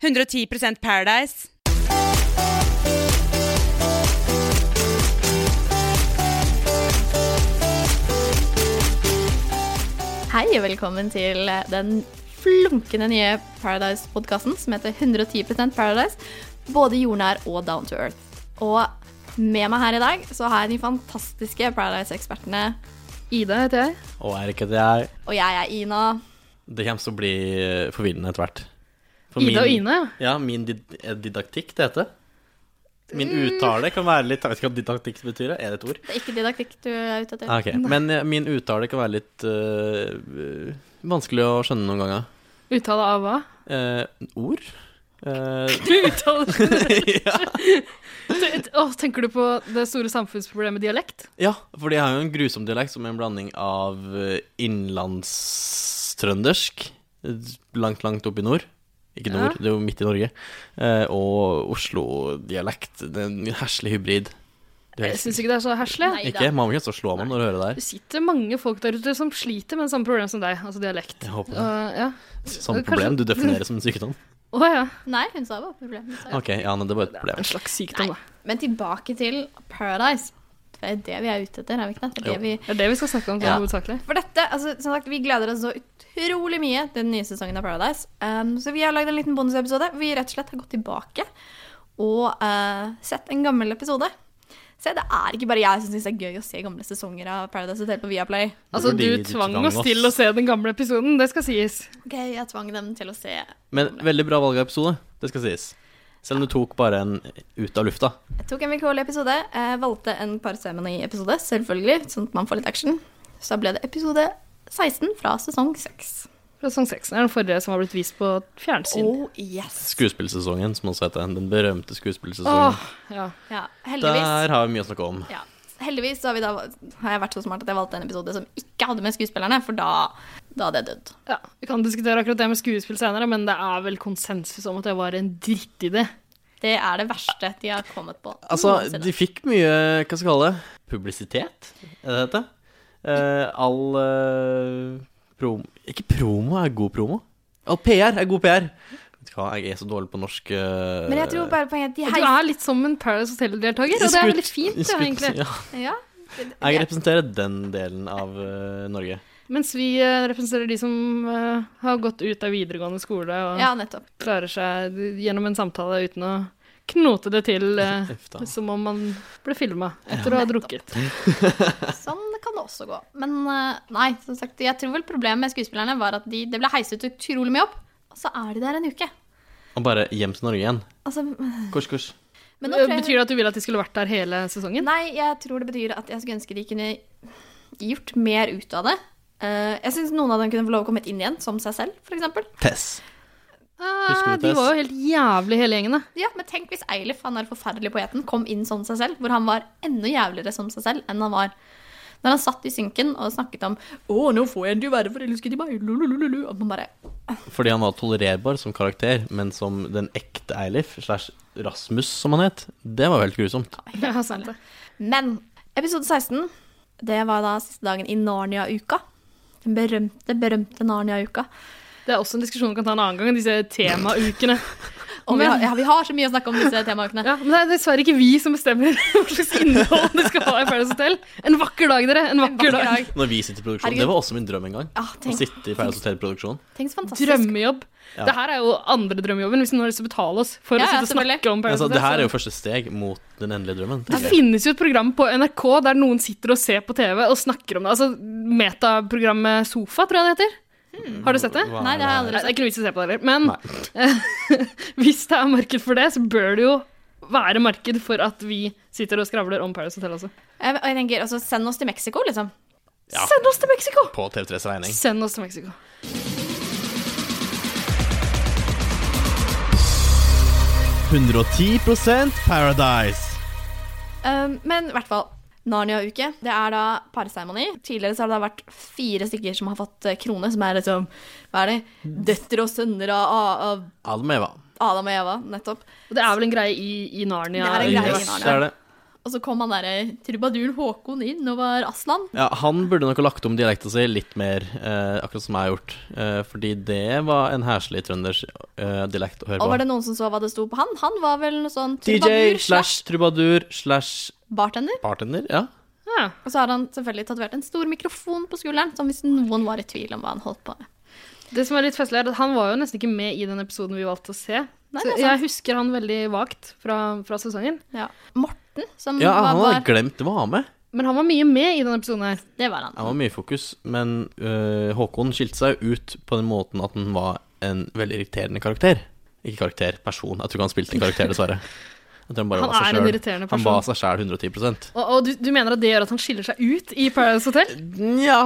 110 Paradise. Hei og velkommen til den flunkende nye Paradise-podkasten som heter 110 Paradise. Både jordnær og down to earth. Og med meg her i dag så har jeg de fantastiske Paradise-ekspertene. Ida heter jeg. Og er ikke det jeg Og jeg er Ina. Det kommer til å bli eh, forvirrende etter hvert. For Ida og Ine, ja. Ja, min did eh, didaktikk, det heter. Min Mm. uttale kan være litt Jeg vet ikke hva didaktikk betyr, er det et ord? Det er ikke didaktikk du er ute etter. Ah, ok. Men eh, min uttale kan være litt eh, vanskelig å skjønne noen ganger. Uttale av hva? Eh, ord? Eh, Du uttaler ja. Åh, Tenker du på det store samfunnsproblemet dialekt? ja, for jeg har jo en grusom dialekt som er en blanding av eh, innlandstrøndersk, eh, langt, langt opp i nord Ikke nord, det er jo midt i Norge. eh, og Oslo-dialekt. Det er en herselig hybrid. Du er Jeg syns ikke det er så herselig. Nei. Ikke? Man må ikke stå og slå meg når du hører det Det her. sitter mange folk der ute som sliter med samme problem som deg, altså dialekt. Jeg håper det. Og, ja. Samme Kanskje- problem du definerer som en sykdom. Å ja. Nei, hun sa bare problem. Hun sa jo- Ok, ja, men det var et problem. En slags sykdom, da. Men tilbake til Paradise. Det er det vi er ute etter, er vi ikke det? det, er det Jo. vi... Det er det vi skal snakke om sånn Ja. hovedsakelig. For dette, altså, som sagt, vi gleder oss så utrolig mye til den nye sesongen av Paradise. Um, så vi har lagd en liten bonusepisode hvor vi rett og slett har gått tilbake og eh, sett en gammel episode. Se, det er ikke bare jeg som syns det er gøy å se gamle sesonger av Paradise Hotel på Viaplay. Altså, Fordi du du tvang tvang oss til å oss. se den gamle episoden, det skal sies. Ok, jeg tvang dem til å se. Men veldig bra valg av episode, det skal sies. Selv om du tok bare en ut av lufta. Jeg tok en vilkårlig episode. Jeg valgte en parseremoni-episode, selvfølgelig, sånn at man får litt action. Så da ble det episode 16 fra sesong 6. Fra sesong 6. Det er den forrige som har blitt vist på fjernsyn. Oh yes! Skuespillsesongen, som også heter. Den berømte skuespillsesongen. Åh, ja. Ja, heldigvis. Der har vi mye å snakke om. Ja. Heldigvis så har, vi da, har jeg vært så smart at jeg valgte en episode som ikke hadde med skuespillerne, for da, da hadde jeg dødd. ja. Vi kan diskutere akkurat det med skuespill senere, men det er vel konsensus om at det var en drittidé. Det er det verste de har kommet på. Altså, noensinne. de fikk mye, hva skal jeg kalle det, publisitet, er det dette? Eh, all eh, promo Ikke promo er god promo. All PR er god PR. Vet du hva, jeg er så dårlig på norsk eh, Men jeg tror bare poenget er Og at de Du er litt som en Paradise Hotel-deltaker, og det er skutt- veldig fint, ja, skutt- egentlig. Ja. heier ja. Jeg representerer den delen av eh, Norge. Mens vi eh, representerer de som eh, har gått ut av videregående skole og ja, nettopp. klarer seg gjennom en samtale uten å knote det til eh, Uff da. som om man ble filma etter å ha drukket. Sånn kan det også gå. Men eh, nei, som sagt, jeg tror vel problemet med skuespillerne var at de, det ble heiset utrolig mye opp, og så er de der en uke. Og bare hjem til Norge igjen. Altså, Kors, kors. men nå Eh, tror jeg, Betyr det at du vil at de skulle vært der hele sesongen? Nei, jeg tror det betyr at jeg skulle ønske de kunne gjort mer ut av det. Eh, jeg syns noen av dem kunne få lov å komme inn igjen, som seg selv, f.eks. Tess. Ah, Husker du de Tess? var jo helt jævlig hele gjengen, da. Ja, men tenk hvis Eilif, han der forferdelige poeten, kom inn som seg selv, hvor han var enda jævligere som seg selv enn han var. Når han satt i synken og snakket om 'Å, nå får jeg ikke være forelsket i meg', lulululu, og man bare Fordi han var tolererbar som karakter, men som den ekte Eilif, slash Rasmus, som han het, det var jo helt grusomt. Ja, sant det. Men episode 16, det var da siste dagen i Narnia-uka. Den berømte, berømte Narnia-uka. Det er også en diskusjon vi kan ta en annen gang, disse temaukene. Og vi Men- har, ja, vi har så mye å snakke om disse temaukene. Ja, men det er dessverre ikke vi som bestemmer hva slags innhold det skal ha i Paradise Hotel. En vakker dag, dere. En vakker dag. Når vi sitter i produksjon. Herregud. Det var også min drøm en gang. Ja, Å Ah, tenk, sitte i Paradise Hotel-produksjon. tenk så fantastisk. Drømmejobb. Ja. Det her er jo andre drømmejobben, hvis noen har lyst til å betale oss for Ja, å ja, sitte og snakke om Paradise Altså, det Hotel. her er så- sånn." jo første steg mot den endelige drømmen. det finnes jo et program på NRK der noen sitter og ser på TV og snakker om det. Altså metaprogrammet Sofa, tror jeg det heter. Har du sett det? Hva Nei, det har jeg Nei, aldri Det er ikke noe vits i å se på det heller. Men hvis det er marked for det, så bør det jo være marked for at vi sitter og skravler om Paradise Hotel også. Jeg, og jeg tenker, altså, Send oss til Mexico, liksom. Ja. Send oss til Mexico! På TV3s regning. Send oss til Mexico. Paradise. Um, men i hvert fall. Narnia-uke. Det er da parseremoni. Tidligere så har det da vært fire stykker som har fått eh, krone, som er liksom Hva er det? Døtre og sønner av, av, Almeva. av Adam og Eva, nettopp. Og det er vel en greie i, i Narnia? Det er en greie i Yes, Narnia. det er det. Og så kom han derre trubaduren Håkon inn og var Aslan. Ja, han burde nok ha lagt om dialekta si litt mer, eh, akkurat som jeg har gjort. Eh, fordi det var en heslig trønders eh, dialekt å høre Og på. var det noen som så hva det sto på han? Han var vel noe sånn DJ trubadur slash slash trubadur slash bartender. bartender, ja. Ja. Og så har han selvfølgelig tatovert en stor mikrofon på skulderen, som hvis noen var i tvil om hva han holdt på med. Det som er litt festlig, er at han var jo nesten ikke med i den episoden vi valgte å se. Nei, så det er sant. jeg husker han veldig vagt fra, fra sesongen. Ja. Morten, som Ja, var, han hadde Mm, var glemt å være med. Men han var mye med i denne episoden her. Det var han. Han var mye i fokus, men eh, Håkon skilte seg jo ut på den måten at han var en veldig irriterende karakter. Ikke karakter, person. Jeg tror ikke han spilte en karakter, dessverre. Jeg tror han bare Han var er seg en selv. irriterende Han var person. seg sjæl 110 Og, og du, du mener at det gjør at han skiller seg ut i Paradise Hotel? Nja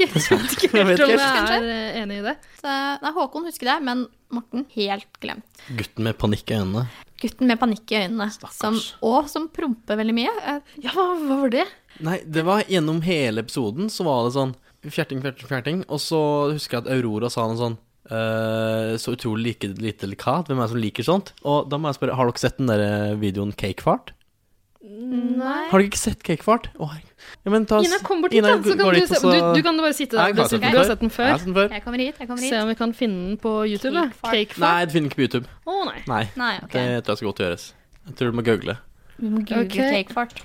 Jeg vet ikke helt Jeg vet om ikke jeg er eh, enig i det. Så, nei, Håkon husker det, men Morten helt glemt. Gutten med panikk i øynene. Gutten med panikk i øynene, som, og som promper veldig mye. Eh, Ja, hva, hva var det? Nei, det var gjennom hele episoden så var det sånn fjerting, fjerting, fjerting. Og så husker jeg at Aurora sa noe sånn eh, Så utrolig like, lite delikat. Hvem er det som liker sånt? Og da må jeg spørre, har dere sett den der eh, videoen Cakefart? Nei. Har dere ikke sett Cakefart? Å, herregud. ja, men ta, Ina, kom bort hit, Ina, da. Så går kan du, dit, se, og så- du, du kan bare sitte Nei, der. jeg Du, har sett du har sett den den før. Jeg før. har sett den før. Jeg kommer hit, jeg kommer Se hit. om vi kan finne den på YouTube. da. Cake fart. Cake Nei, fart. det finner ikke på YouTube. Å nei. Nei, Nei, ok. det tror jeg skal godt gjøres. Jeg tror du må google. Vi må google Ok. cakefart.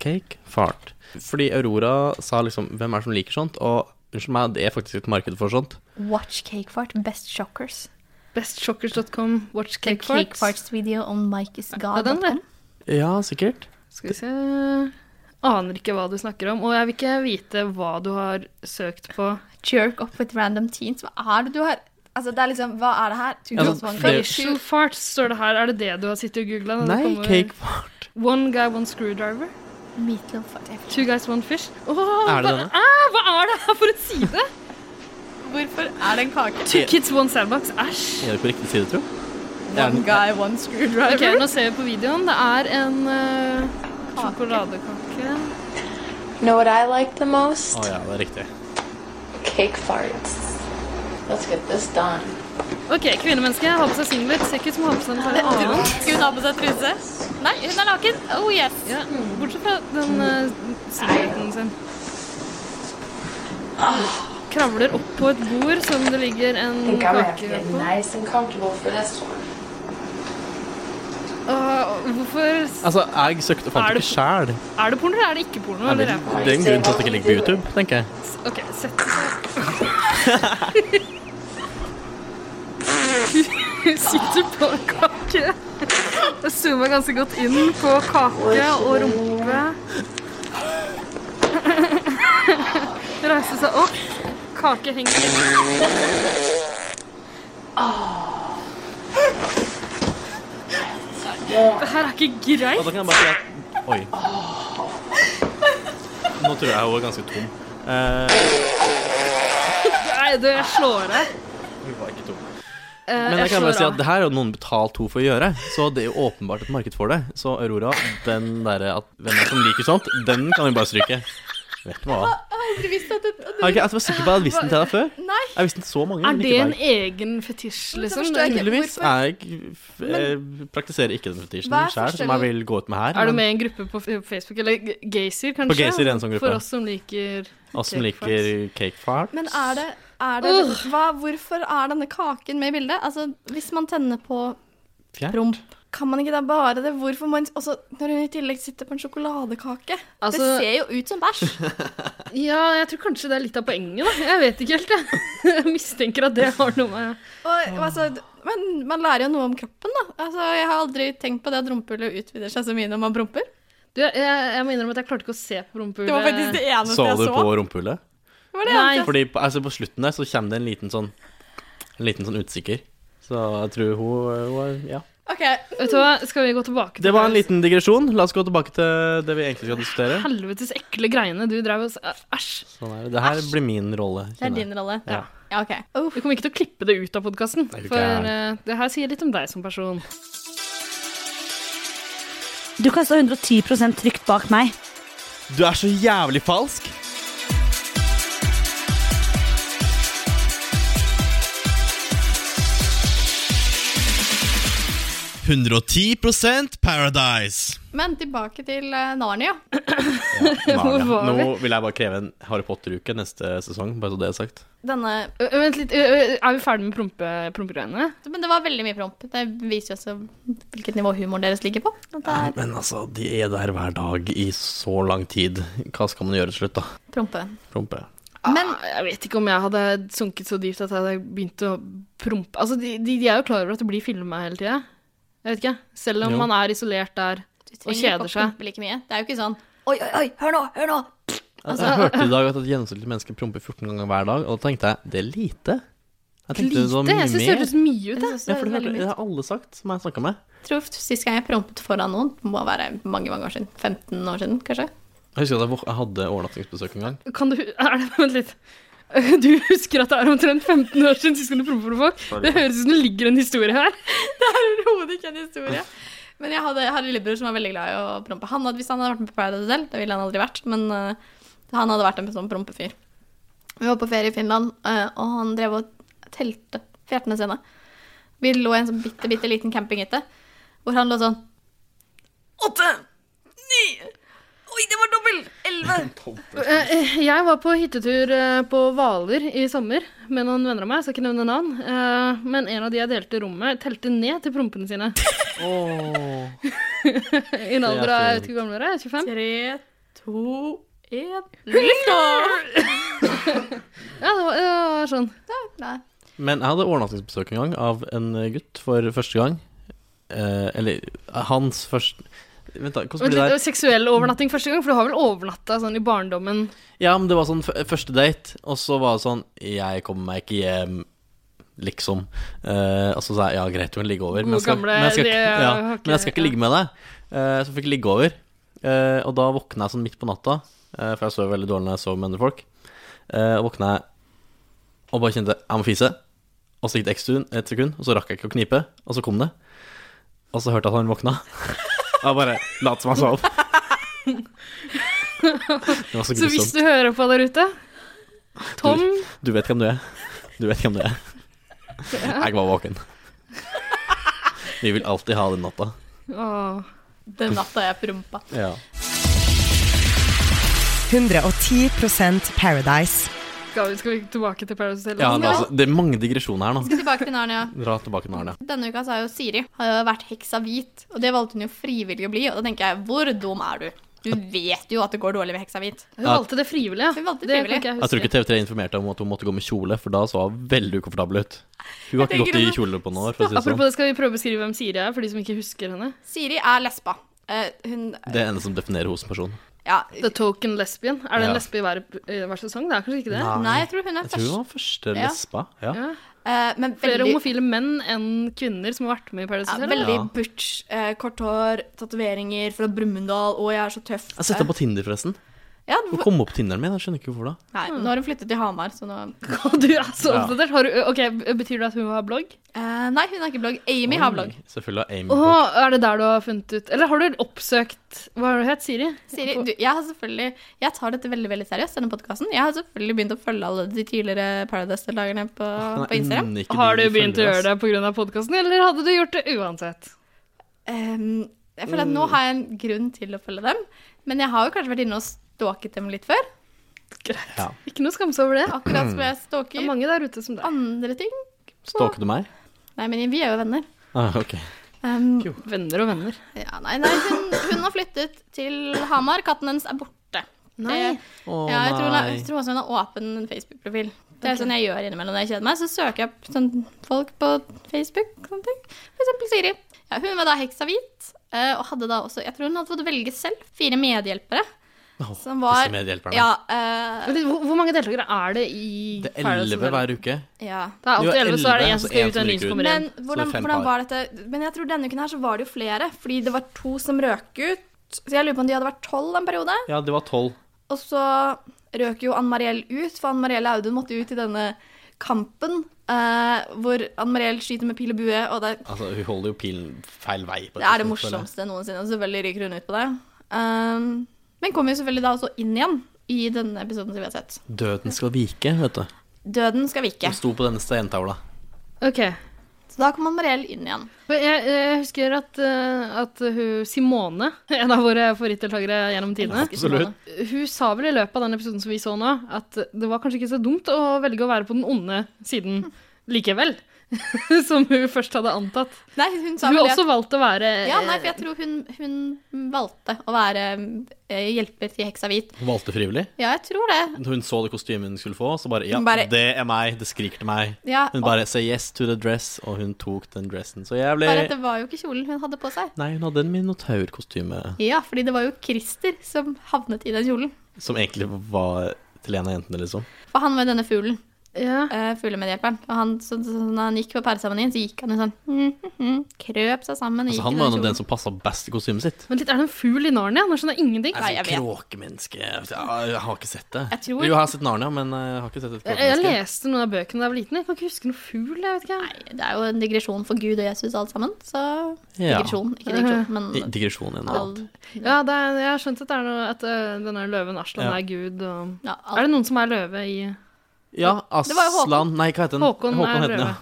Cakefart. Fordi Aurora sa liksom Hvem er det som liker sånt? Og unnskyld meg, det er faktisk et marked for sånt. Watch cakefart, best shockers. Bestshockers.com, watch The cake farts. cakefarts video on Mike is Ja, den der. god.com. Ja, sikkert. Skal vi se Aner ikke hva du snakker om, og jeg vil ikke vite hva du har søkt på. Jerk up with random teens. Hva er det du har Altså, det er liksom Hva er det her? Ja, sånn, det- 2021. Facial farts står det her. Er det det du har sittet og googla? Nei, Cakefart. One guy, one screwdriver. Meatloaf what if. Two guys, one fish. Åh, Er det hva- denne? Ah, hva er det her for en side? Hvorfor er det en kake? Two kids, one sandbox. Æsj. Er det på riktig side, tro? One guy, one screwdriver. Ok, nå ser vi på videoen. Det er en eh, sjokoladekake. Know what I like the most? Å ja, det er riktig. Cake farts. Let's get this done. Ok, kvinnemenneske har på seg singlet. Ser ikke ut som har på seg noe annet. Skal hun ha på seg truse? Nei, hun er naken. Oh yes. Ja, bortsett fra den uh, singleten sin. Kravler opp på et bord som det ligger en think I'm gonna have to kake get på. nice and comfortable for this one. Åh, hvorfor Altså, jeg søkte Er og fant det- ikke sjæl. Er det porno, eller er det ikke porno? Det Eller er er det? en grunn til at det ikke ligger på YouTube, tenker jeg. Ok, sett Hun sitter på en kake. Jeg zoomer ganske godt inn på kake og rumpe. Reiser seg opp. Kake henger litt. Det her er ikke Og greit. da kan jeg bare si at Oi. Nå tror jeg hun er ganske tom. Eh, Nei, du, jeg slår av. hun var ikke tom. Eh, Men jeg kan slår bare si av. at det her har noen betalt henne for å gjøre, så det er jo åpenbart et marked for det. Så Aurora, den derre at hvem er det som liker sånt, den kan vi bare stryke. Vet du hva? Jeg, jeg var sikker på at jeg hadde visst den til deg før. Nei. Jeg visste den så mange. Er men det ikke en deg. egen fetisj, liksom? forstår jeg ikke. Tydeligvis. Jeg f- eh, praktiserer ikke den Hva fetisjen er sjøl, som jeg forskjellen? vil gå ut med her. Er du men- med i en gruppe på f- Facebook, eller g- Gaysir kanskje? På Gaysir er en sånn gruppe. For oss som liker Oss som cake farts. liker cake farts. Men er det, er det hva, Hvorfor er denne kaken med i bildet? Altså, hvis man tenner på Fjert. promp, kan man ikke da bare det? Hvorfor må man også, Når hun i tillegg sitter på en sjokoladekake Det Altså- ser jo ut som bæsj. Ja, jeg tror kanskje det er litt av poenget, da. Jeg vet ikke helt, jeg. jeg mistenker at det har noe med Og, og altså, men man lærer jo noe om kroppen, da. Altså, jeg har aldri tenkt på det at rumpehullet utvider seg så mye når man promper. Du, jeg, jeg må innrømme at jeg klarte ikke å se på Det rumpehullet. var faktisk det eneste Så jeg du så. på rumpehullet? Det var det Nei. eneste jeg- Fordi på, altså på slutten der så kommer det en liten sånn En liten sånn utsikker. Så jeg tror hun, hun er- Ja. Ok, Vet du hva, skal vi gå tilbake til Det var en liten digresjon. La oss gå tilbake til det vi egentlig skal diskutere. Helvetes ekle greiene du drev og s- Æsj. Sånn er det. Det her blir min rolle. det er kjenner jeg. din rolle. Ja. Ja, ok. Uff. Vi kommer ikke til å klippe det ut av podkasten, Nei, du for gæren. eh, det her sier litt om deg som person. Du kan stå 110 trygt bak meg. Du er så jævlig falsk! Paradise. Men tilbake til eh, Narnia. Narnia. var vi? Nå vil jeg bare kreve en Harry Potter-uke neste sesong, bare så det er sagt. Denne Ø, ø, Vent litt, ø, ø, er vi ferdig med prompe, prompegreiene? Men det var veldig mye promp. Det viser jo også hvilket nivå humoren deres ligger på. At det er Men altså, de er der hver dag i så lang tid. Hva skal man gjøre til slutt, da? prompe. Prompe. Men- ah, jeg vet ikke om jeg hadde sunket så dypt at jeg hadde begynt å prompe. Altså, de, de, de er jo klar over at det blir filma hele tida. Jeg vet ikke. Selv om Jo. man er isolert der. Du Og trenger kjeder ikke å seg. prompe like mye. Det er jo ikke sånn Oi, oi, oi, hør nå, hør nå! Altså, jeg hørte i dag at et gjennomsnittlig menneske promper 14 ganger hver dag, og da tenkte jeg det er lite. Jeg tenkte det var Lite. mye Jeg syns det mer. høres mye ut, jeg. Jeg synes Ja, det for er det, hørte, veldig det mye. har alle sagt som jeg har snakka med. Jeg tror sist gang jeg prompet foran noen, må være mange mange år siden. 15 år siden, kanskje. Jeg husker at jeg vok- jeg hadde overnattingsbesøk en gang. Kan du er det, Vent litt. Du husker at det er omtrent 15 år siden sist gang du prompa for folk? Det høres ut som det ligger en historie her. Overhodet ikke en historie. Men jeg hadde, jeg hadde en lillebror som var veldig glad i å prompe. Han hadde, hvis han hadde vært med på Paradise Hotel, det ville han aldri vært, men eh, han hadde vært en sånn prompefyr. Vi var på ferie i Finland, eh, og han drev og telte fjertene sine. Vi lå i en sånn bitte, bitte liten campinghytte, hvor han lå sånn Åtte! Ni! Oi, det var dobbel! Elleve! Eh, Jeg var på hyttetur eh, på Hvaler i sommer med noen venner av meg. Jeg skal ikke nevne navn. Eh, Men en av de jeg delte rommet, telte ned til prompene sine. I en alder av jeg vet ikke hvor gammel dere er, 25? Tre, to, én Lyft opp! Ja, det var, det var sånn. Nei. Men jeg hadde overnattingsbesøk en gang av en gutt for første gang. Eh, eller hans første Vent, da. Hvordan Vent blir det litt, der? det var seksuell overnatting første gang, for du har vel overnatta sånn i barndommen? Ja, men det var sånn f første date, og så var det sånn Jeg kommer meg ikke hjem, liksom. Eh, og så sa jeg ja, greit, du kan ligge over, men jeg skal, Gode gamle, men jeg skal, det ikke, ja, har ikke- men jeg skal ikke ja. ligge med deg. Eh, så fikk jeg ligge over. Eh, og da våkna jeg sånn midt på natta, eh, for jeg sov veldig dårlig når jeg sov med andre folk. Eh, og våkna jeg og bare kjente jeg må fise. Og så gikk det ett sekund, et sekund, og så rakk jeg ikke å knipe, og så kom det. Og så hørte jeg at han våkna. Og jeg bare lot som jeg sov. Det var Så så hvis grusomt. du hører på der ute Tom Du vet hvem du er. Du vet hvem du er. Jeg var våken. Vi vil alltid ha den natta. Åh. Den natta jeg prompa. 110 Paradise. Skal vi, skal vi tilbake til Paradise Hotel? Ja, men altså, det er mange digresjoner her nå. Skal tilbake til Narnia. Dra tilbake til Arne. Denne uka så har jo Siri har jo vært heksa hvit, og det valgte hun jo frivillig å bli. Og da tenker jeg, hvor dum er du? Du vet jo at det går dårlig med heksa hvit. Hun valgte det frivillig, ja. Hun valgte det frivillig. kan ikke Jeg tror huske. ikke TV3 informerte om at hun måtte gå med kjole, for da så hun veldig ukomfortabel ut. Hun har ikke tenker gått i også- kjole på noen år, for å si det sånn. Apropos det, skal vi prøve å beskrive hvem Siri er, for de som ikke husker henne? Siri er lesba. Eh, hun sånn. Det er ene som definerer henne som person. Ja. The Token Lesbian. Er det en Ja. lesbe i hver, eh, hver sesong? Det er kanskje ikke det? Nei, jeg tror hun er Jeg tror hun først. var første Ja. lesba. Ja. Ja. Eh, men Flere veldig, homofile menn enn kvinner som har vært med i Paradise ja, Hotel? eller? veldig Ja. butch. eh, kort hår, tatoveringer fra Brumunddal, og jeg er så tøff. Eh, Jeg setter på Tinder, forresten. ja, Hun hvor, Mm. kom opp på Tinderen min, jeg skjønner ikke hvorfor da. nei, nå har hun flyttet til Hamar, så nå Du er så Ja. oppdatert. Har du, ok, Betyr det at hun har blogg? Eh, Nei, hun har ikke blogg. Amy har blogg. Oi, Selvfølgelig har Amy Åh, blogg. er det der du har funnet ut Eller har du oppsøkt Hva har du hett, Siri? Siri, du, jeg har selvfølgelig Jeg tar dette veldig veldig seriøst, denne podkasten. Jeg har selvfølgelig begynt å følge alle de tidligere Paradise-deltakerne på, Hun er på Instagram. innike Har du digg begynt å følger, gjøre det ass. pga. podkasten, eller hadde du gjort det uansett? Ehm, jeg føler Mm. at nå har jeg en grunn til å følge dem, men jeg har jo kanskje vært inne og stalket dem litt før. Greit. Ja. Ikke noe skamse over det. Akkurat som jeg Det er stalker mange der ute som deg. andre ting. Stalker du meg? Nei, men vi er jo venner. Ah, ok. Ehm, Venner og venner. ja, nei, nei, hun, hun har flyttet til Hamar. Katten hennes er borte. Nei. Det- Å ja, jeg, tror hun har, nei. jeg tror også hun har åpen Facebook-profil. Det er sånn jeg gjør innimellom når jeg kjeder meg. Så søker jeg opp sånn folk på Facebook. Sånne ting. For eksempel Siri. Ja, hun var da heksa hvit, eh, og hadde da også Jeg tror hun hadde fått velge selv. Fire medhjelpere. Åh, Som var disse medhjelperne. Ja. eh, Men det- Hvor, hvor mange deltakere er det i Det er Paradise elleve Hotel? hver uke. ja. Det er Du alltid har elleve, så er det elleve, en som så skal en ut, og som en ny ryker som ut. kommer inn. Men hvordan, fem hvordan par. var dette Men jeg tror denne uken her så var det jo flere, fordi det var to som røk ut. Så jeg lurer på om de hadde vært tolv en periode. Ja, det var tolv. Og så røk jo Ann Mariell ut, for Ann Mariell Audun måtte ut i denne kampen eh, hvor Ann Mariell skyter med pil og bue, og det, Altså, hun holder jo pilen feil vei. På det et er det tidspunkt, føler jeg. morsomste noensinne. Og selvfølgelig ryker hun ut på det. Um, men kommer jo selvfølgelig da også inn igjen i denne episoden som vi har sett. Døden skal vike, vet du. Døden skal vike. Hun sto på denne steintavla. Ok, Så da kom Mariell inn igjen. For Jeg, jeg husker at, eh, at hun Simone, en av våre favorittdeltakere gjennom tidene Absolutt. Hun sa vel i løpet av den episoden som vi så nå, at det var kanskje ikke så dumt å velge å være på den onde siden likevel. som hun først hadde antatt. Nei, hun sa Hun har vel det. også valgt å være Ja, nei, for jeg tror hun, hun valgte å være eh, hjelper til heksa hvit. Hun valgte frivillig. Ja, jeg tror det. Hun så det kostymet hun skulle få, så bare Ja, Hun bare- det er meg. Det skriker til meg. Ja, Hun bare say yes to the dress, og hun tok den dressen. Så jeg og ble bare at det var jo ikke kjolen hun hadde på seg. Nei, hun hadde en minotaurkostyme Ja, fordi det var jo Christer som havnet i den kjolen. som egentlig var til en av jentene, liksom. For han var denne fuglen. Ja. eh, fuglemedhjelperen. Og han, så, så når han gikk på pæreseremonien, så gikk han jo sånn mm, mm, mm, Krøp seg sammen. og Altså, gikk han i var den nå den kjolen. som passa best i kostymet sitt. Sånn Men litt, er det en fugl i Narnia? Nå skjønner jeg ingenting. Nei, jeg vet. Kråkemenneske Jeg jeg har ikke sett det. Jeg tror- Jo, jeg har sett Narnia, men eh, jeg har ikke sett et Jeg, jeg kråkemenneske. leste noen av bøkene da jeg var liten. Jeg kan ikke huske noe fugl. jeg vet ikke. Det er jo en digresjon for Gud og Jesus alt sammen, så Ja. Digresjon, ikke digresjon, men I- Digresjon igjen. all, alt. Ja, det er, Jeg har skjønt at, det er noe, at øh, denne løven Aslan Ja. er gud. Og... ja, Er all, det noen som er løve i Ja, Det var jo Håkon. Aslan Nei, hva heter den? Håkon er heter den, rød.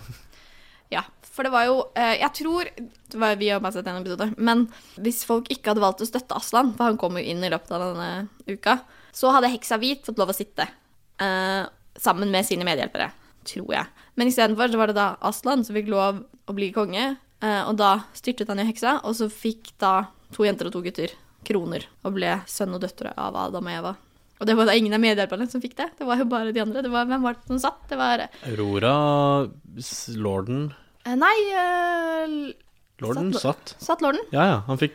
ja. ja. For det var jo eh, Jeg tror det var, Vi har bare sett en episode, men hvis folk ikke hadde valgt å støtte Aslan, for han kom jo inn i løpet av denne uka, så hadde heksa hvit fått lov å sitte eh, sammen med sine medhjelpere, tror jeg. Men istedenfor så var det da Aslan som fikk lov å bli konge, eh, og da styrtet han jo heksa, og så fikk da to jenter og to gutter kroner og ble sønn og døtre av Adam og Eva. Og det var da ingen av medhjelperne som fikk det, det var jo bare de andre. Det var, hvem var det som satt? Det var Aurora s- Lorden Eh, Nei, eh, l- Lorden Satt- satt. satt lorden? Ja, ja. Han fikk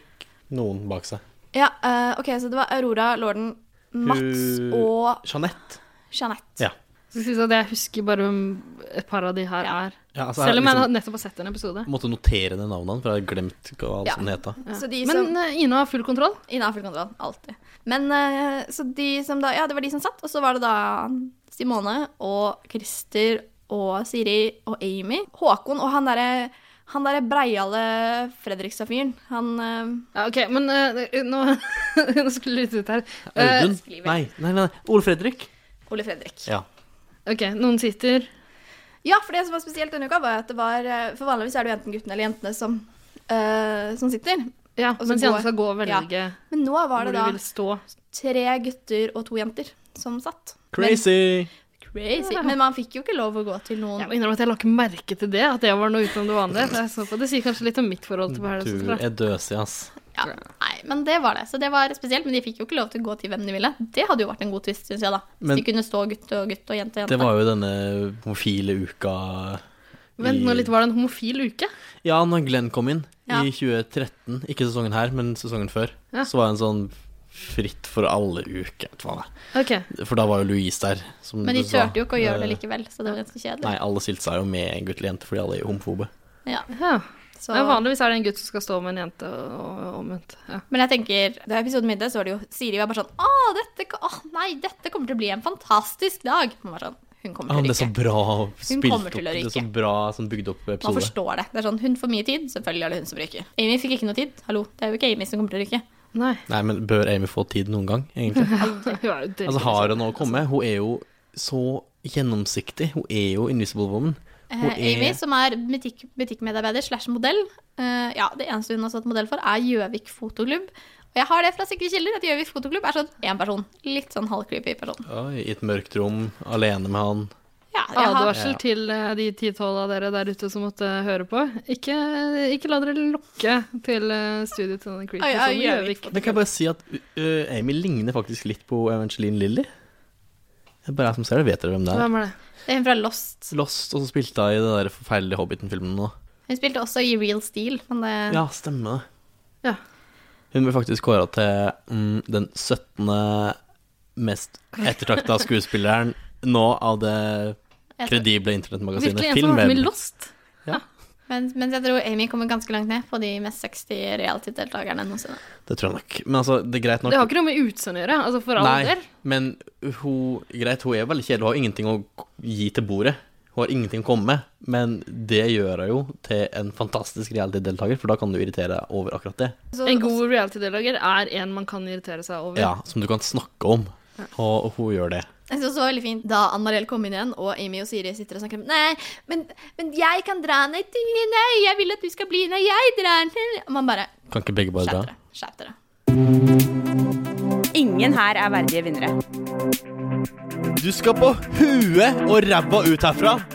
noen bak seg. Ja, eh, ok, så det var Aurora, lorden, Mats Hun- og Jeanette. Jeanette. Ja. Så skal vi si at Jeg husker bare om et par av de her Ja. er Ja, altså, Selv om liksom- jeg nettopp har sett en episode. Måtte notere det navnet hans, for jeg hadde glemt hva alt Ja. som het. da. Så de Men som, øh, Ina har full kontroll. Innen full kontroll, alltid. Men eh, så de som da, ja, det var de som satt, og så var det da Simone og Christer og Siri og Amy. Håkon og han derre han derre breiale Fredrikstad-fyren, han eh, Ja, ok, Men øh, nå, nå skulle det lytte ut her. Eh, Audun? nei, nei, nei. Ole Fredrik? Ole Fredrik. Ja. Eh, ok, Noen sitter Ja, for det som var spesielt denne uka, var at det var eh, For vanligvis er det jo enten guttene eller jentene som, eh, som sitter. ja, så mens går- de andre skal gå og ja. velge Men nå var hvor det de da vil stå. tre gutter og to jenter som satt. Men, Crazy! crazy. Men man fikk jo ikke lov å gå til Jeg noen må innrømme at jeg la ikke merke til det, at det var noe utenom det vanlige. så jeg så på. Det sier kanskje litt om mitt forhold til Paradise Du Hotel. da. er døsig, ass. ja, Nei, men det var det. Så det var spesielt. Men de fikk jo ikke lov til å gå til hvem de ville. Det hadde jo vært en god twist, syns jeg, da. Hvis Men- de kunne stå gutt og gutt og jente og Det jente. var jo denne homofile uka i- Vent nå litt, var det en homofil uke? Ja, når Glenn kom inn Ja. i 2013, ikke sesongen her, men sesongen før, Ja. så var det en sånn fritt for alle-uke. Ok, For da var jo Louise der. Som Men de du sa. turte jo ikke å gjøre det Eh, likevel, så det var ganske kjedelig. Nei, alle stilte seg jo med en gutt eller jente fordi alle er homofobe. Ja, ja. så... Men vanligvis er det en gutt som skal stå med en jente, og, og omvendt. Ja. Men jeg tenker, da episoden begynte, så var det jo Siri var bare sånn Å, dette, ka- åh, nei, dette kommer til å bli en fantastisk dag. Man var sånn, hun kommer Ja, men til det å er så ryke. bra spilt kommer opp. til å Det er ryke. så bra sånn bygd opp Man episode. forstår det. Det er sånn, Hun får mye tid, selvfølgelig er det hun som ryker. Amy fikk ikke noe tid. Hallo, det er jo ikke Amy som kommer til å ryke. Nei. Nei, men bør Amy få tid noen gang, egentlig? Hun er jo død. Altså, har hun noe å komme? Hun er jo så gjennomsiktig. Hun er jo Invisible Woman. Eh, Hun er- Amy, som er butikk, butikkmedarbeider slash modell, eh, ja, det eneste hun har stått modell for, er Gjøvik Fotoklubb. Og jeg har det fra sikre kilder, at Gjøvik Fotoklubb er sånn én person. Litt sånn halvcreepy person. Oi, I et mørkt rom, alene med han. Ja, jeg har, Advarsel Ja. til eh, de 10-12 av dere der ute som måtte høre på. Ikke, ikke la dere lokke til eh, studiet til denne creepy Oi, oi, personen i Gjøvik. Gjøvik. Men kan jeg bare si at ø, Amy ligner faktisk litt på Evangeline Lilly? Det er bare jeg som ser det. Vet dere hvem det er? Hvem er det? det er hun fra Lost. Lost, og så spilte hun i den der forferdelige Hobbiten-filmen nå. Hun spilte også i Real Steel, men det Ja, stemmer det. Ja. Hun ble faktisk kåra til mm, den 17. mest ettertrakta skuespilleren nå av det jeg tror- kredible Virkelig internettmagasinet en som har vært med i Filmweb. Lost? Men, mens jeg tror Amy kommer ganske langt ned på de mest 60 reality-deltakerne noensinne. Det tror jeg nok. Men altså, det er greit nok. Det har ikke noe med utseendet å gjøre, altså for all Nei, del. men hun, greit, hun er veldig kjedelig. Hun har ingenting å gi til bordet. Hun har ingenting å komme med, men det gjør hun jo til en fantastisk reality-deltaker, for da kan du irritere deg over akkurat det. Så- En god reality-deltaker er en man kan irritere seg over. Ja, Som du kan snakke om, og hun gjør det. Jeg synes også det var veldig fint Da Ann-Mariell kom inn igjen, og Amy og Siri sitter og snakker om Nei, men, men jeg kan dra ned til Nei, jeg vil at du skal bli Nei, jeg drar ned Og man bare Kan ikke begge bare Skjerp dra? dere. Skjerp dere. Ingen her er verdige vinnere. Du skal på huet og ræva ut herfra!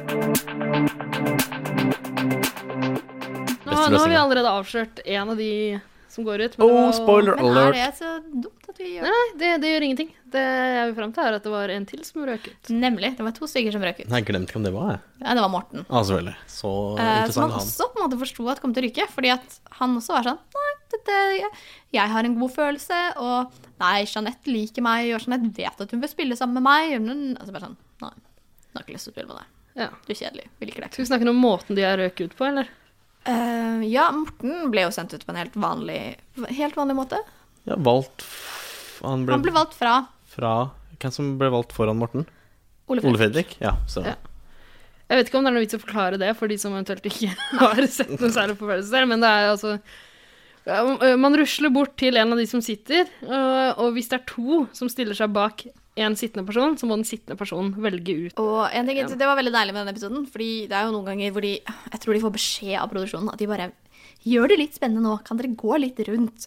Nå, nå har vi allerede avslørt en av de som går ut. men det Oh, var- spoiler Men er alert. det så dumt at vi gjør Nei, nei, det, det gjør ingenting. Det jeg vil fram til, er at det var en til som røk ut. Nemlig. Det var to stykker som røk ut. Nei, jeg glemte hvem det var, jeg. Ja, det var Morten. Ah, selvfølgelig. Så Eh, som interessant han han. også på en måte forsto at kom til å ryke. Fordi at han også var sånn Nei, dette, jeg, jeg har en god følelse, og nei, Jeanette liker meg, og Jeanette vet at hun vil spille sammen med meg. Men, altså bare sånn Nei, hun har ikke lyst til å spille med deg. Ja. Du er kjedelig. Vi liker deg ikke. Skal vi snakke om måten de har røk ut på, eller? Eh, ja, Morten ble jo sendt ut på en helt vanlig, helt vanlig måte. Ja, valgt f- Han ble, Han ble valgt fra fra Hvem som ble valgt foran Morten? Ole Ole Fredrik. Fredrik? Ja, så Ja. Jeg vet ikke om det er noe vits å forklare det for de som eventuelt ikke har sett noe særlig på Paradise Hotel, men det er altså Ja, m- Man rusler bort til en av de som sitter, øh, og hvis det er to som stiller seg bak en sittende person, så må den sittende personen velge ut. Og en ting, Det var veldig deilig med denne episoden, Fordi det er jo noen ganger hvor de Jeg tror de får beskjed av produksjonen at de bare Gjør det litt spennende nå. Kan dere gå litt rundt?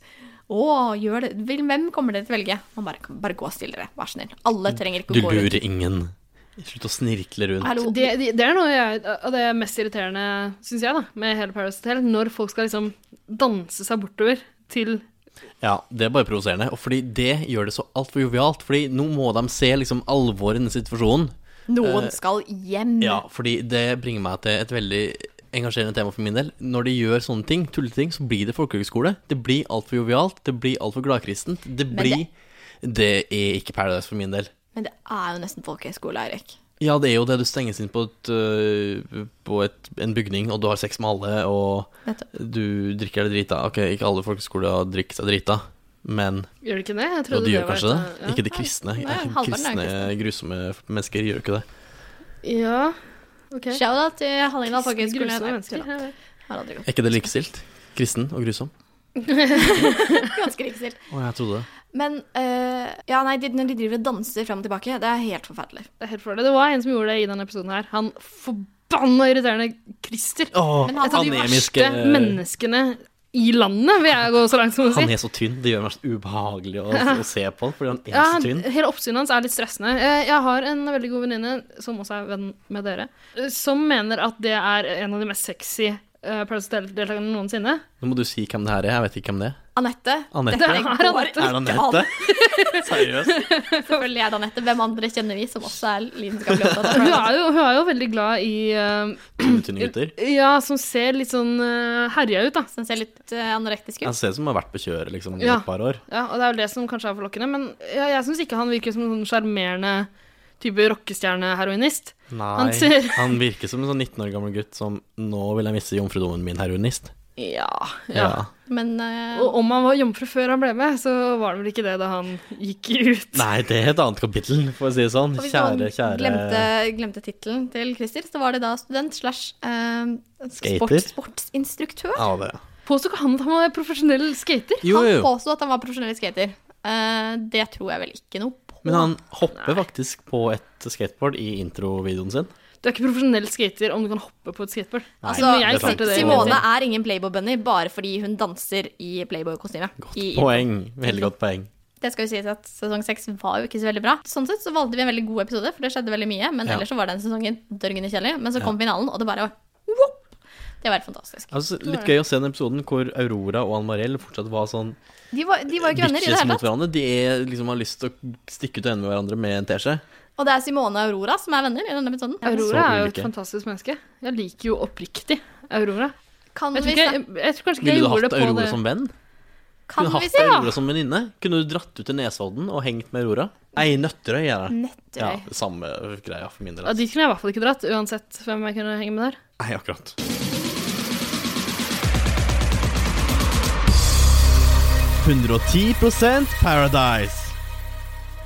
Å, gjør det vil- Hvem kommer dere til å velge? Man bare, bare gå stille, dere. Vær så snill. Alle trenger ikke Du å gå rundt. lurer ingen. Slutt å snirkle rundt. Hallo. Det, det, det er noe jeg, av det mest irriterende, syns jeg, da, med hele Paradise Hotel, når folk skal liksom danse seg bortover til Ja, det er bare provoserende. Og fordi det gjør det så altfor jovialt. Fordi nå må de se liksom alvoret i denne Mm. situasjonen. Noen skal hjem. Eh, Ja, fordi det bringer meg til et veldig engasjerende tema for min del. Når de gjør sånne ting, tulleting, så blir det folkehøgskole. Det blir altfor jovialt, det blir altfor gladkristent. Det Men blir Det er ikke Paradise for min del. Men det er jo nesten folkehøyskole, Eirik. Ja, det er jo det. Du stenges inn på, et, øh, på et, en bygning, og du har sex med alle, og Nettopp. du drikker deg drita. Ok, ikke alle folkeskoler drikker seg drita, men Gjør det ikke det? Jeg Jo, trodde de gjør var kanskje det? et- ja. Ikke de kristne. Nei, halvparten er kristne, grusomme mennesker gjør ikke det. Ja, ok. Shout-out til Hallingdal Kristne, folkehøgskole. grusomme Nei, mennesker, tulla. ja, ja. Har aldri gått. Er ikke det likestilt? Kristen og grusom? Ganske riktig. Å, jeg trodde det. Men eh, ja, nei, de, når de driver og danser fram og tilbake, det er helt forferdelig. Det er helt for det. Det var en som gjorde det i denne episoden her. Han forbanna irriterende Christer. Men Et av de anemiske- eh, verste menneskene i landet, vil altså, jeg gå så langt som å Han si. er så tynn. Det gjør meg så ubehagelig å, å se på han, fordi han er Ja, så tynn. hele oppsynet hans er litt stressende. Eh, Jeg har en veldig god venninne, som også er venn med dere, eh, som mener at det er en av de mest sexy eh, Paradise Hotel-deltakerne noensinne. Nå må du si hvem det her er. Jeg vet ikke hvem det er. Anette, Anette? Det Er er Anette. det Anette? Seriøst? Selvfølgelig er det Anette. Hvem andre kjenner vi som også er lidenskapelig opptatt av Hun Paradise? er jo, hun er jo veldig glad i eh, Tynne gutter. Ja, som ser litt sånn eh, herja ut, da. Den ser litt eh, anorektisk Jeg ut. ser ut som han har vært på kjøret liksom, i Ja. et par år. Ja, og det er jo det som kanskje er forlokkende, men jeg, jeg syns ikke han virker som en sånn sjarmerende type rockestjerneheroinist. Nei, Han ser- han virker som en sånn 19 år gammel gutt som Nå vil jeg miste jomfrudommen min, heroinist. Ja, Ja. Men eh, Og om han var jomfru før han ble med, så var det vel ikke det da han gikk ut. Nei, det er et annet kapittel, for å si det sånn. og hvis Kjære, noen kjære glemte, glemte tittelen til Christer, så var det da student slash eh, Skater? sport, sportsinstruktør. Ja, det er Påsto ikke han at han var profesjonell skater? Jo, Han jo, påsto at han var profesjonell skater. Eh, det tror jeg vel ikke noe på. men han hopper faktisk på et skateboard i introvideoen sin. Du er ikke profesjonell skater om du kan hoppe på et skateboard. Altså, Men jeg det er sant. klarte det. Simone er ingen Playboy-bunny bare fordi hun danser i Playboy-kostyme. I- Poeng. Veldig godt poeng. Det skal jo sies at Sesong seks var jo ikke så veldig bra. Sånn sett så valgte vi en veldig god episode, for det skjedde veldig mye. Men Ja. ellers så var den sesongen dørgende kjedelig. Men så kom finalen, og det bare var whoop! Det var helt fantastisk. Altså, litt gøy å se den episoden hvor Aurora og Ann Mariell fortsatt var sånn De var, de var jo ikke venner i det bitches hele mot tatt. hverandre. De er, liksom, har lyst til å stikke ut øynene med hverandre med en teskje. Og det er Simone og Aurora som er venner i denne episoden. Aurora Så er jo et ulike. fantastisk menneske. Jeg liker jo oppriktig Aurora. Kan Jeg vi, tror, ikke, snak- jeg, jeg tror kanskje ikke Ville jeg du gjorde hatt det på Aurora det. som venn? kan Kunne vi hatt se Aurora som venninne? Kunne du dratt ut til Nesodden og hengt med Aurora? Ei, Nøtterøy er Mm, det. Nøtterøy. Ja, samme greia for min del. Ja, Altså. dit kunne jeg i hvert fall ikke dratt, uansett hvem jeg kunne henge med der. Nei, akkurat. Paradise.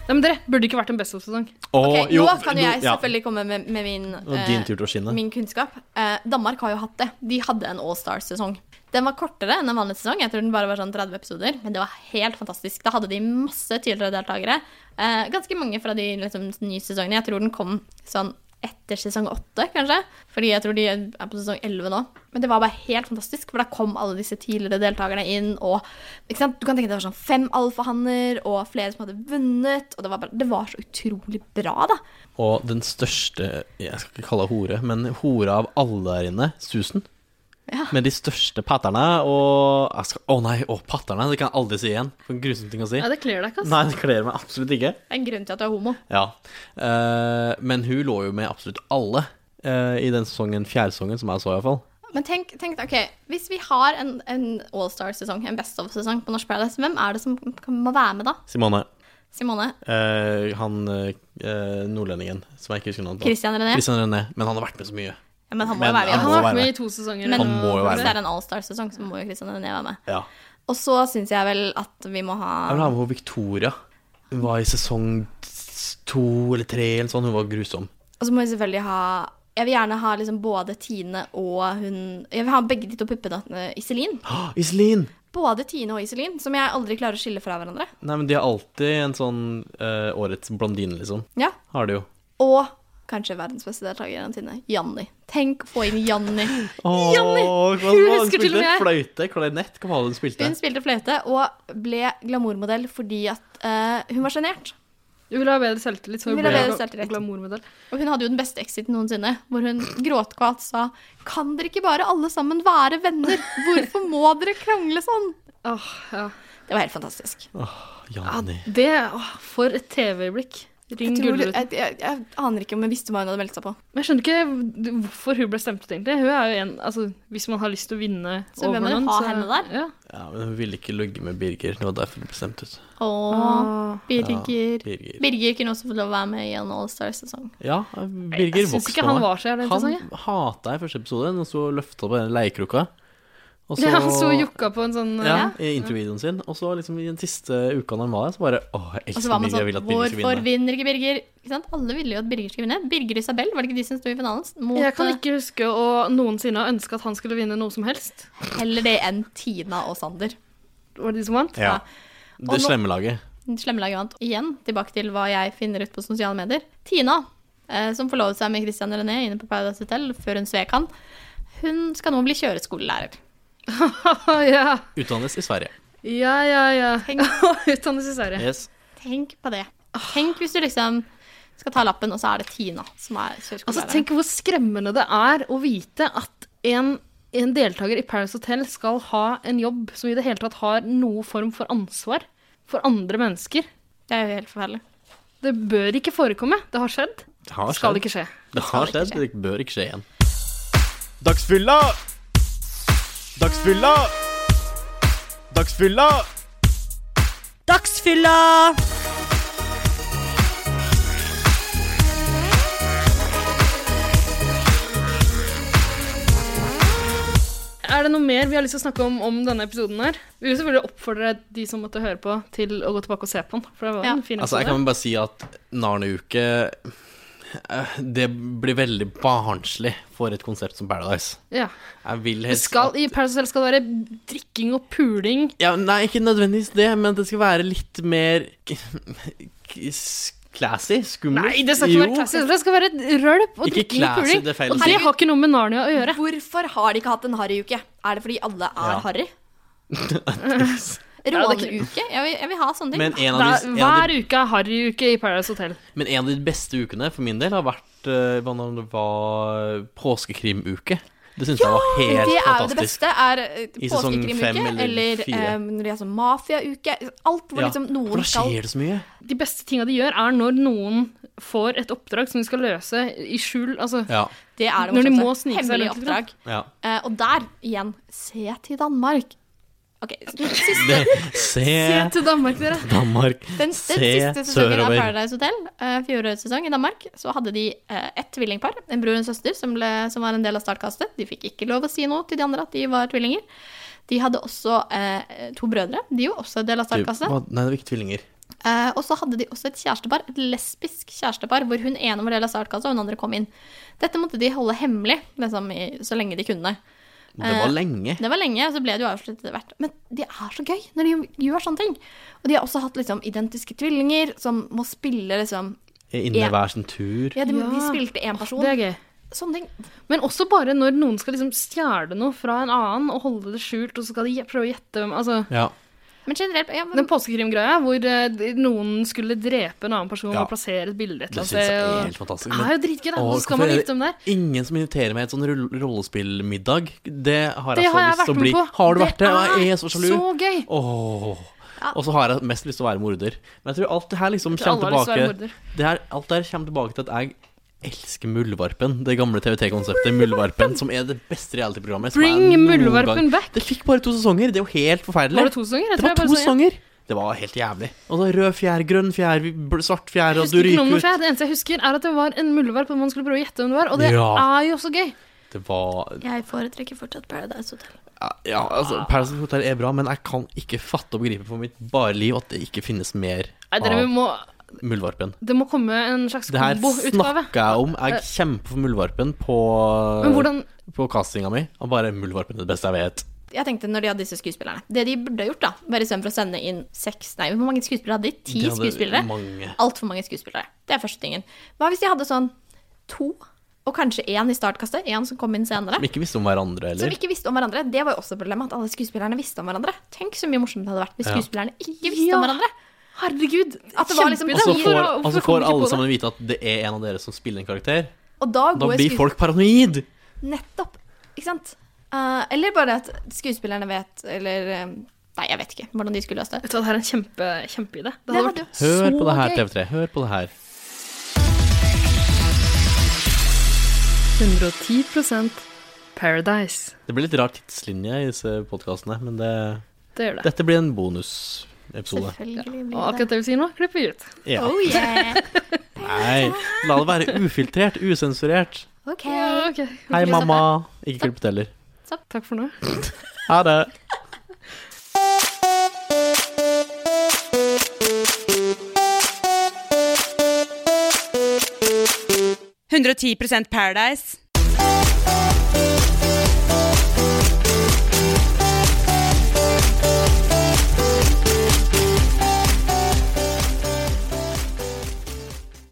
Nei, men dere burde ikke vært en best-of-sesong. Og, Ok, jo, nå kan jo jeg ja. selvfølgelig komme med, med min, Og eh, din tur til å skinne. min kunnskap. Eh, Danmark har jo hatt det. De hadde en All Star-sesong. Den var kortere enn en vanlig sesong. Jeg tror den bare var sånn 30 episoder. Men det var helt fantastisk. Da hadde de masse tidligere deltakere. Eh, ganske mange fra de liksom, nye sesongene. Jeg tror den kom sånn etter sesong åtte, kanskje. Fordi jeg tror de er på sesong elleve nå. Men det var bare helt fantastisk, for da kom alle disse tidligere deltakerne inn. Og ikke sant? du kan tenke deg det var sånn fem alfahanner og flere som hadde vunnet. Og det var, bare, det var så utrolig bra, da. Og den største Jeg skal ikke kalle henne hore, men hore av alle der inne, Susan. Ja. Med de største patterne og jeg skal- Å nei, å, patterne! Det kan jeg aldri si igjen. For en grusom ting å si. Nei, det kler deg ikke, ass. Nei, det kler meg absolutt ikke. Det er en grunn til at du er homo. Ja. Eh, men hun lå jo med absolutt alle eh, i den sesongen, fjerde sesongen, som jeg så, iallfall. Men tenk, tenk ok, hvis vi har en, en all-star-sesong, en best of-sesong på Norsk Paradise, hvem er det som kan- må være med da? Simone. Simone? Eh, han eh, eh, nordlendingen som jeg ikke husker navnet på. Christian René? Christian René. Men han har vært med så mye. Ja, men han må Men jo være han med. Han må har være vært med med. i to sesonger. Men Han må jo være hvis det med. er en all-star-sesong, så må jo Christian René være med. Ja. Og så syns jeg vel at vi må ha Jeg vil ha med henne Victoria. Hun var i sesong to eller tre eller sånn. Hun var grusom. Og så må vi selvfølgelig ha Jeg vil gjerne ha liksom både Tine og hun Jeg vil ha begge de to puppedattene Iselin. Å, Iselin! Både Tine og Iselin, som jeg aldri klarer å skille fra hverandre. Nei, men de har alltid en sånn eh, årets blondine, liksom. Ja. Har de jo. Og kanskje verdens beste deltaker gjennom tidene, Janni. Tenk å få inn Janni. Åh, Janni! hva- hva- Hun hun husker til og spilte? med jeg. Fløyte, klarinett, hva var det hun spilte? Hun spilte fløyte og ble glamourmodell fordi at eh, hun var sjenert. Du vil ha bedre selvtillit, så Hun hun vil ha blir bedre gla- selvtillit. glamourmodell. Og hun hadde jo den beste exiten noensinne, hvor hun gråtkvalt sa Kan dere ikke bare alle sammen være venner? Hvorfor må dere krangle sånn? Åh, ja. Det var helt fantastisk. Ah, Janni. Det åh, For et TV-øyeblikk. Ring Jeg, tror, Gullruten. jeg, jeg, jeg aner ikke om jeg visste hva hun hadde meldt seg på. Men jeg skjønner ikke hvorfor hun ble stemt ut, egentlig. Hun er jo en, altså, Hvis man har lyst til å vinne Så over hvem er det noen, ha så henne der? Ja. Ja, men hun ville ikke ligge med Birger. Det var derfor hun bestemte ut. Åh, Åh. Birger. Birger. Birger kunne også fått lov å være med i en Allstar-sesong. Ja, Birger Jeg syns vokste ikke på han meg. var så jævlig Han interessant. jeg. hata jeg i første episode, og så løfta på den leirkrukka. Og Ja, han så jukka på en sånn ja, i introvideoen sin. Og så liksom i den siste uka han var der, så bare Å, jeg Og elsker så var man Birger, sånn jeg vil at Birger skal Hvorfor vinne. vinner ikke Birger? Ikke sant? Alle ville jo at Birger skulle vinne. Birger og Isabel, var det ikke de som sto i finalen? Mot Jeg kan ikke huske å noensinne ha ønska at han skulle vinne noe som helst. eh, heller det enn Tina og Sander. Var det de som vant? Ja. Og Det nå- slemme laget. Slemmelaget vant. Igjen tilbake til hva jeg finner ut på sosiale medier. Tina, eh, som forlovet seg med Christian René inne på Paradise Hotel før hun svek han, hun skal nå bli kjøreskolelærer. ja. Utdannes i Sverige. ja, ja, ja. Tenk. Utdannes i Sverige. Yes. Tenk på det. Tenk hvis du liksom skal ta lappen, og så er det Tina som er Altså, kjøreskolelæreren. tenk hvor skremmende det er å vite at en, en deltaker i Paris Hotel skal ha en jobb som i det hele tatt har noe form for ansvar for andre mennesker. det er jo helt forferdelig. Det bør ikke forekomme. Det har skjedd. Det har skjedd. Skal ikke skje. Det har skjedd, det bør ikke skje igjen. Dagsfylla! Dagsfylla! Dagsfylla! Dagsfylla! Er det noe mer vi har lyst til å snakke om om denne episoden her? Vi vil selvfølgelig oppfordre de som måtte høre på, til å gå tilbake og se på den. For det var Ja. en fin episode. Altså, jeg kan bare si at Narneuke eh, Det blir veldig barnslig for et konsept som Paradise. ja. Jeg vil Det helst skal, at- I Paris Hotel skal det være drikking og puling. ja, Nei, ikke nødvendigvis det, men det skal være litt mer k- k- s- classy. Skummelt. Nei, det skal ikke Jo. være classy. Det skal være rølp og Ikke drikking og classy, puling. det er feil å og si. det har ikke noe med Narnia å gjøre. Hvorfor har de ikke hatt en harryuke? Er det fordi alle er Ja. harry? Ja, det er Råneruke? Jeg, vil- jeg vil ha sånne ting. Men en, Det av er, de, en av de hver uke er harryuke i Paradise Hotel. Men en av de beste ukene for min del har vært eh, hva om det var påskekrimuke. Det syns jeg var helt det er jo det fantastisk. beste. Er I sesong påskekrimuke fem eller eller, eller fire. eh, når de er sånn mafiauke. Alt hvor Ja, liksom for noen da skal skjer det så mye. De beste tinga de gjør, er når noen får et oppdrag som de skal løse i skjul. Altså, Ja. Det er det Når de morsomste. må snike seg Hemmelig rundt litt, oppdrag. ja. Eh, og der, igjen, se til Danmark. Ok, siste, Det, se Se til Danmark, dere. Danmark, den, den siste se sesongen av sørover. Paradise Hotel, eh, fjorårets sesong i Danmark, så hadde de eh, ett tvillingpar, en bror og en søster, som, ble, som var en del av startkastet. De fikk ikke lov å si noe til de andre at de var tvillinger. De hadde også eh, to brødre, de er jo også en del av Du, altså. startkastet. hva- Nei, det var ikke tvillinger. Eh, og så hadde de også et kjærestepar, et lesbisk kjærestepar, hvor hun ene var del av startkassa, og hun andre kom inn. Dette måtte de holde hemmelig liksom, i, så lenge de kunne. Det Eh, var lenge. Det var lenge, og så ble det jo avsluttet etter hvert. Men det er så gøy når de gjør sånne ting. Og de har også hatt liksom identiske tvillinger som må spille liksom Inne hver sin tur. Ja, de, de Ja. spilte én person. Det er gøy. Sånne ting. Men også bare når noen skal liksom stjele noe fra en annen og holde det skjult, og så skal de gje- prøve å gjette hvem altså, Ja. Men generelt ja, men, Den påskekrimgreia hvor eh, de- noen skulle drepe en annen person Ja. og plassere et bilde et Det eller syns jeg er annet helt sted. fantastisk. og- Det er jo dritgøy, da. Åh, Så skal man hvorfor er vite om det. det Ingen som inviterer meg i et sånn rull- rollespillmiddag. Det har jeg Det så har jeg lyst vært til å med bli. på. Har du vært det? Ja, Jeg er så sjalu. Så gøy. Åh. Og så har jeg mest lyst til å være morder. Men jeg tror alt det her liksom Jeg tror kommer alle har lyst til å være tilbake morder. det her, Alt det her kommer tilbake til at jeg elsker Muldvarpen. Det gamle TVT-konseptet Muldvarpen, som er det beste reality-programmet. som Bring jeg noen Muldvarpen gang- back. Det fikk bare to sesonger. Det er jo helt forferdelig. Var det to sesonger? Jeg Det tror var jeg bare to så én. sesonger. Det var helt jævlig. Og så rød fjær, grønn fjær, bl- svart fjær, og Jeg du husker ikke noe ryker om ut. det. Det eneste jeg husker, er at det var en muldvarp, og man skulle prøve å gjette hvem det var. Og det Ja. er jo så gøy. Det var jeg foretrekker fortsatt Paradise Hotel. Ja, altså, Paradise Hotel er bra, men jeg kan ikke fatte og begripe for mitt bare liv at det ikke finnes mer Nei, dere av må, Muldvarpen. det må komme en slags Det her kombo-utgave. snakker jeg om. Jeg kjemper for Muldvarpen på, Eh. Men hvordan på castinga mi. Og bare Muldvarpen er det beste jeg vet. Jeg tenkte når de hadde disse skuespillerne Det de burde ha gjort, da, var istedenfor å sende inn seks Nei, hvor mange skuespillere hadde de? Ti De hadde skuespillere? mange. Altfor mange skuespillere. Det er første tingen. Hva hvis de hadde sånn to, og kanskje én i startkastet? Én som kom inn senere? Som ikke visste om hverandre Som heller. ikke visste om hverandre. Det var jo også problemet, at alle skuespillerne visste om hverandre. Tenk så mye morsomt det hadde vært hvis Ja. skuespillerne ikke visste Ja. om hverandre. Herregud. At det var liksom- Og så Hvorfor- Altså, får, hvorfor kom vi ikke og så får på alle det? sammen vite at det er en av dere som spiller en karakter. Og da, Da går blir skues- folk paranoid. Nettopp. Ikke sant? Eh, eller bare at skuespillerne vet, eller eh, Nei, jeg vet ikke hvordan de skulle løst det. Vet du hva, det her er en kjempe, kjempeidé. Det Det hadde hadde vært jo- Hør så på det her, gøy. TV3. Hør på det her. 110 Paradise. Det blir litt rar tidslinje i disse podkastene, men det, Det gjør det. dette blir en bonusepisode. Selvfølgelig Og blir det akkurat det vi sier nå, klipper vi ut. Ja. Oh yeah. Nei, la det være ufiltrert, usensurert. Ok. Ja, ok. Hei, mamma. Ikke klipp ut heller. Takk for nå. Ha det. Paradise.